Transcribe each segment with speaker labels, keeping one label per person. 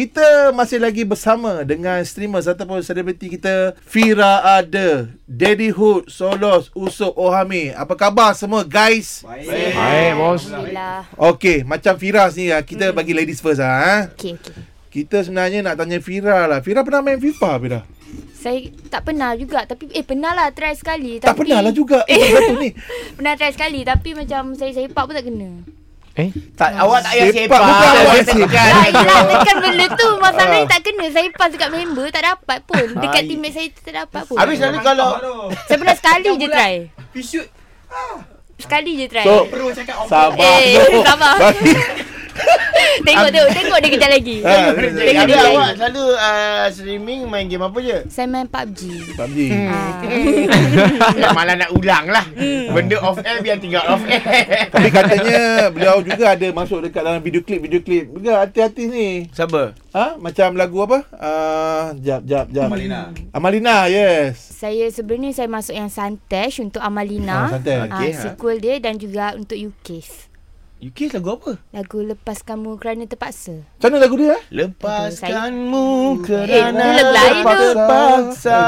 Speaker 1: Kita masih lagi bersama dengan streamers ataupun selebriti kita Fira Ada, Daddy Hood, Solos, Usop, Ohami. Apa khabar semua guys?
Speaker 2: Baik.
Speaker 3: Baik, bos.
Speaker 2: Alhamdulillah.
Speaker 1: Okey, macam Fira ni ah, kita bagi ladies first ah. Ha?
Speaker 2: Okey, okey.
Speaker 1: Kita sebenarnya nak tanya Fira lah. Fira pernah main FIFA Fira?
Speaker 2: Saya tak pernah juga tapi eh pernah lah try sekali
Speaker 1: Tak
Speaker 2: tapi
Speaker 1: pernah lah juga. Eh, satu ni.
Speaker 2: Pernah try sekali tapi macam saya sepak pun tak kena.
Speaker 3: Eh,
Speaker 4: Tak, awak tak payah
Speaker 1: Sepak,
Speaker 4: sepak.
Speaker 1: bukan
Speaker 4: Tak
Speaker 1: awak
Speaker 4: payah tekan.
Speaker 2: Lah yelah tekan benda tu masalahnya tak kena. Saya pass dekat member tak dapat pun. Dekat
Speaker 4: Hai.
Speaker 2: teammate saya tak dapat pun.
Speaker 4: Habis selalu kalau
Speaker 2: saya pernah sekali je try.
Speaker 4: Pisut
Speaker 2: Sekali je try.
Speaker 1: So,
Speaker 4: Perlu cakap orang
Speaker 1: sabar.
Speaker 2: Eh,
Speaker 1: dulu.
Speaker 2: sabar.
Speaker 1: Bagi-
Speaker 2: tengok tengok tengok dia kejap lagi.
Speaker 1: Ha,
Speaker 2: Tengok
Speaker 4: Habis
Speaker 2: dia kejap
Speaker 4: awak
Speaker 2: lagi.
Speaker 4: selalu ah, streaming main game apa je?
Speaker 2: Saya main PUBG.
Speaker 1: PUBG.
Speaker 2: Ah.
Speaker 4: Nak malah nak ulang lah
Speaker 2: Hmm.
Speaker 4: Benda off air biar tinggal off air
Speaker 1: Tapi katanya beliau juga ada masuk dekat dalam video klip video klip. Juga hati-hati ni.
Speaker 4: Siapa?
Speaker 1: Ha? Macam lagu apa? Ah, jap jap jap. Amalina. Amalina, yes.
Speaker 2: Saya sebelum ni saya masuk yang Santesh untuk Amalina.
Speaker 1: Ah, Santesh.
Speaker 4: Okey,
Speaker 2: Okay,
Speaker 4: ha.
Speaker 2: ha. Sequel dia dan juga untuk UKIS.
Speaker 4: UK lagu apa?
Speaker 2: Lagu Lepas Kamu Kerana Terpaksa.
Speaker 1: Macam mana lagu dia? eh?
Speaker 2: Eh,
Speaker 4: Lepaskanmu
Speaker 2: kerana
Speaker 4: kerana
Speaker 2: lain tu.
Speaker 4: terpaksa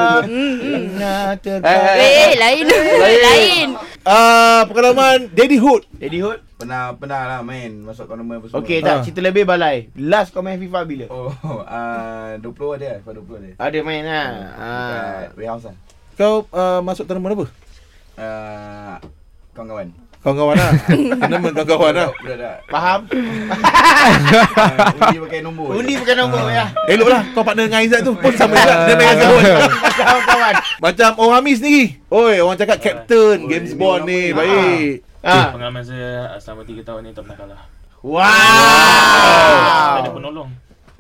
Speaker 1: Ah,
Speaker 4: Kerana
Speaker 2: Eh,
Speaker 4: terpaksa
Speaker 2: lain lain.
Speaker 1: Ah, pengalaman Daddy Hood.
Speaker 4: Daddy Hood
Speaker 5: Pernah pernah lah main masuk tournament apa semua.
Speaker 4: Okay
Speaker 1: Ah.
Speaker 4: tak, cerita lebih balai Last kau main FIFA bila?
Speaker 5: Oh, uh, 20 ada lah, lepas 20 ada.
Speaker 4: Ada main lah
Speaker 5: Uh, warehouse lah.
Speaker 1: Kau ah, masuk tournament apa?
Speaker 5: Uh, kawan-kawan.
Speaker 1: Kawan-kawan lah. Tournament kawan-kawan lah.
Speaker 5: Budak tak.
Speaker 4: Faham?
Speaker 5: Uh, undi pakai nombor.
Speaker 4: Undi bukan nombor ya
Speaker 1: Elok lah kau partner dengan Aizat tu pun sama juga dia main Aizat pun.
Speaker 4: Ah. Kawan-kawan
Speaker 1: Macam Ohami sendiri. Oi, orang cakap captain Games Bond ni baik.
Speaker 4: Ah.
Speaker 6: Pengalaman saya ah, selama 3 tahun ni tak pernah kalah. Tak ada
Speaker 4: Wow.
Speaker 6: penolong.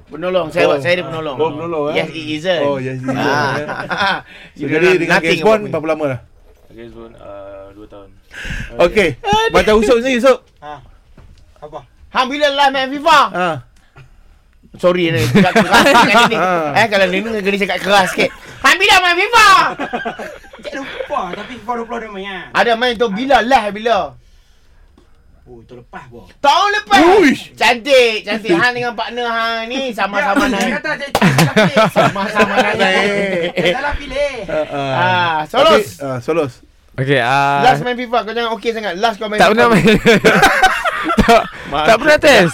Speaker 4: Penolong. Saya
Speaker 1: Oh.
Speaker 4: saya ada penolong.
Speaker 1: Oh, penolong, eh?
Speaker 4: Yes, it isn't.
Speaker 1: Oh, yes, it isn't,
Speaker 4: Ah.
Speaker 1: So, jadi dengan
Speaker 4: Nothing
Speaker 1: Games Bond
Speaker 4: about me.
Speaker 1: berapa lama dah?
Speaker 6: Okay, so, uh, 2 tahun.
Speaker 1: Okey. Macam Usop sendiri Usop.
Speaker 4: Hang bila last main FIFA?
Speaker 1: Ha.
Speaker 4: Sorry ni cakap keras sikit ni.
Speaker 1: Ah.
Speaker 4: Eh kalau ni kena cakap keras sikit. Hang bila main FIFA?
Speaker 7: Cik lupa tapi FIFA 20 ada main kan?
Speaker 4: Ada main tu bila last bila?
Speaker 7: Oh terlepas pun.
Speaker 4: Tahun lepas.
Speaker 1: Uish.
Speaker 4: Cantik, cantik. Hang dengan partner hang ni sama-sama
Speaker 7: Dia
Speaker 4: naik.
Speaker 7: Ya, kata cik dalam pilih.
Speaker 4: Sama-sama
Speaker 1: Eh.
Speaker 4: naik.
Speaker 7: Cik dalam pilih.
Speaker 4: Ah, Solos.
Speaker 1: Ah, Solos.
Speaker 3: okay.
Speaker 1: ah.
Speaker 3: Uh,
Speaker 4: Last main FIFA kau jangan okey sangat. Last kau main.
Speaker 3: tak pernah
Speaker 4: FIFA.
Speaker 3: main. tak, tak pernah test.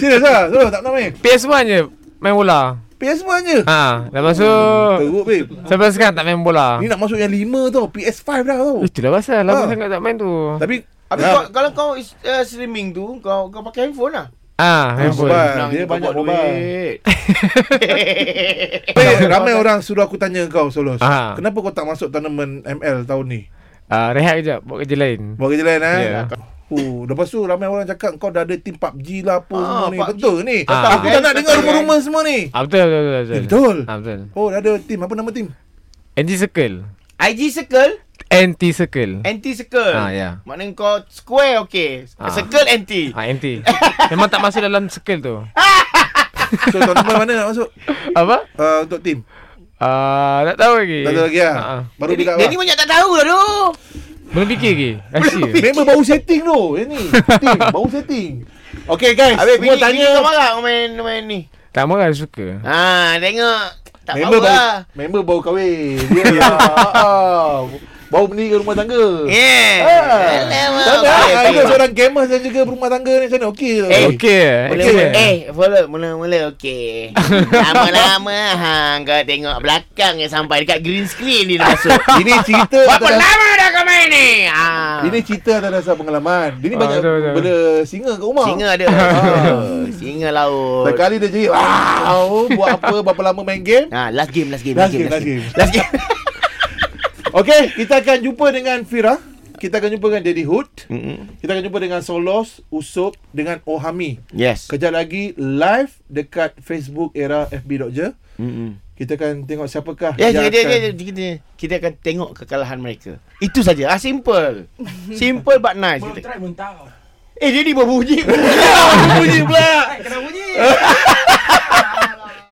Speaker 1: Serius lah Solos tak pernah main
Speaker 3: PS1 je main bola.
Speaker 1: PS1 je
Speaker 3: Ha, lepas tu
Speaker 1: Teruk babe
Speaker 3: sampai sekarang tak main bola.
Speaker 1: Ni nak masuk yang 5 tau PS5 dah tau
Speaker 3: Itulah pasal
Speaker 1: Ah.
Speaker 3: lama sangat tak main tu.
Speaker 1: Tapi
Speaker 4: Habis
Speaker 1: Ah,
Speaker 4: kau, kalau kau is- uh, streaming tu kau kau pakai handphone lah.
Speaker 3: Ah, main bola.
Speaker 1: sebab dia banyak mobile
Speaker 4: duit.
Speaker 1: Babe, ramai orang suruh aku tanya kau Solos
Speaker 3: Ah.
Speaker 1: Kenapa kau tak masuk tournament ML tahun ni
Speaker 3: Ah, rehat kejap buat kerja lain.
Speaker 1: Buat kerja lain eh
Speaker 3: Ya.
Speaker 1: Oh, lepas tu ramai orang cakap kau dah ada tim PUBG lah apa
Speaker 4: Ah,
Speaker 1: semua ni.
Speaker 4: PUBG.
Speaker 1: Betul ni.
Speaker 3: Ah.
Speaker 1: Aku tak nak dengar rumor-rumor semua ni.
Speaker 3: Ah, betul betul betul.
Speaker 1: Eh, betul.
Speaker 3: Ah, betul.
Speaker 1: Oh, dah ada tim. Apa nama tim?
Speaker 3: Anti circle.
Speaker 4: IG circle,
Speaker 3: Anti circle.
Speaker 4: anti circle.
Speaker 3: Ah, ya.
Speaker 4: Maknanya kau square okey.
Speaker 3: Ah.
Speaker 4: Circle anti.
Speaker 3: Ah, anti. Memang tak masuk dalam circle tu.
Speaker 1: So, tournament mana nak masuk?
Speaker 3: Apa?
Speaker 1: Uh, untuk tim.
Speaker 3: Ah, tak tahu lagi.
Speaker 1: Tak ada lagi lah.
Speaker 3: Ah, ah.
Speaker 1: Baru
Speaker 4: Jadi,
Speaker 1: bila
Speaker 4: jadi banyak tak tahu lah tu.
Speaker 3: Belum fikir lagi. Rahsia.
Speaker 1: Member baru setting tu Yang ni Setting Baru setting Okay guys
Speaker 4: Habis
Speaker 1: Semua
Speaker 4: bini,
Speaker 1: tanya
Speaker 4: tanya kau marah kau main main ni.
Speaker 3: Tak marah dia suka.
Speaker 4: Ha, tengok. Tak
Speaker 1: Member
Speaker 4: Member
Speaker 1: baru
Speaker 4: lah.
Speaker 1: Member baru kahwin
Speaker 3: Ya.
Speaker 1: Dia lah Ah, Baru berdiri rumah tangga
Speaker 4: Yeah.
Speaker 1: Ah.
Speaker 4: Alamak.
Speaker 1: Tak
Speaker 4: Okey,
Speaker 1: ada Ada
Speaker 4: okey.
Speaker 1: seorang gamer Dan juga berumah tangga ni Macam mana Okey tu
Speaker 4: Eh,
Speaker 3: Okey.
Speaker 4: Mula,
Speaker 3: okey.
Speaker 4: mula, eh, mula, mula, mula, okey. Lama-lama, hang kau tengok belakang yang sampai dekat green screen dia dah masuk.
Speaker 1: Ini cerita
Speaker 4: Berapa
Speaker 1: atas,
Speaker 4: lama dah kau main ni? Ha.
Speaker 1: Ini cerita atas dasar pengalaman Ini
Speaker 3: Ah,
Speaker 1: banyak
Speaker 3: betul, betul.
Speaker 1: Benda singa kat rumah Ah.
Speaker 4: Singa ada. Oh, Singa laut.
Speaker 1: Sekali dia jadi Wow Buat apa Berapa lama main game
Speaker 4: Ha, last game, last game,
Speaker 1: Last game
Speaker 4: last game,
Speaker 1: Last game
Speaker 4: last game.
Speaker 1: Okay Kita akan jumpa dengan Fira Kita akan jumpa dengan Daddy Hood
Speaker 4: Mm-mm.
Speaker 1: Kita akan jumpa dengan Solos Usop Dengan Ohami
Speaker 4: Yes.
Speaker 1: Kejap lagi live dekat Facebook era FB.je.
Speaker 4: Mm-mm.
Speaker 1: Kita akan tengok siapakah
Speaker 4: Ya,
Speaker 1: yang
Speaker 4: dia, dia, dia,
Speaker 1: akan-
Speaker 4: dia, kita, kita akan tengok kekalahan mereka. Itu saja. Ah, simple. Simple but nice.
Speaker 7: Belum
Speaker 4: Kita.
Speaker 7: try belum tahu.
Speaker 4: Eh, dia ni berbunyi.
Speaker 1: bunyi pula.
Speaker 7: Hai, kena bunyi.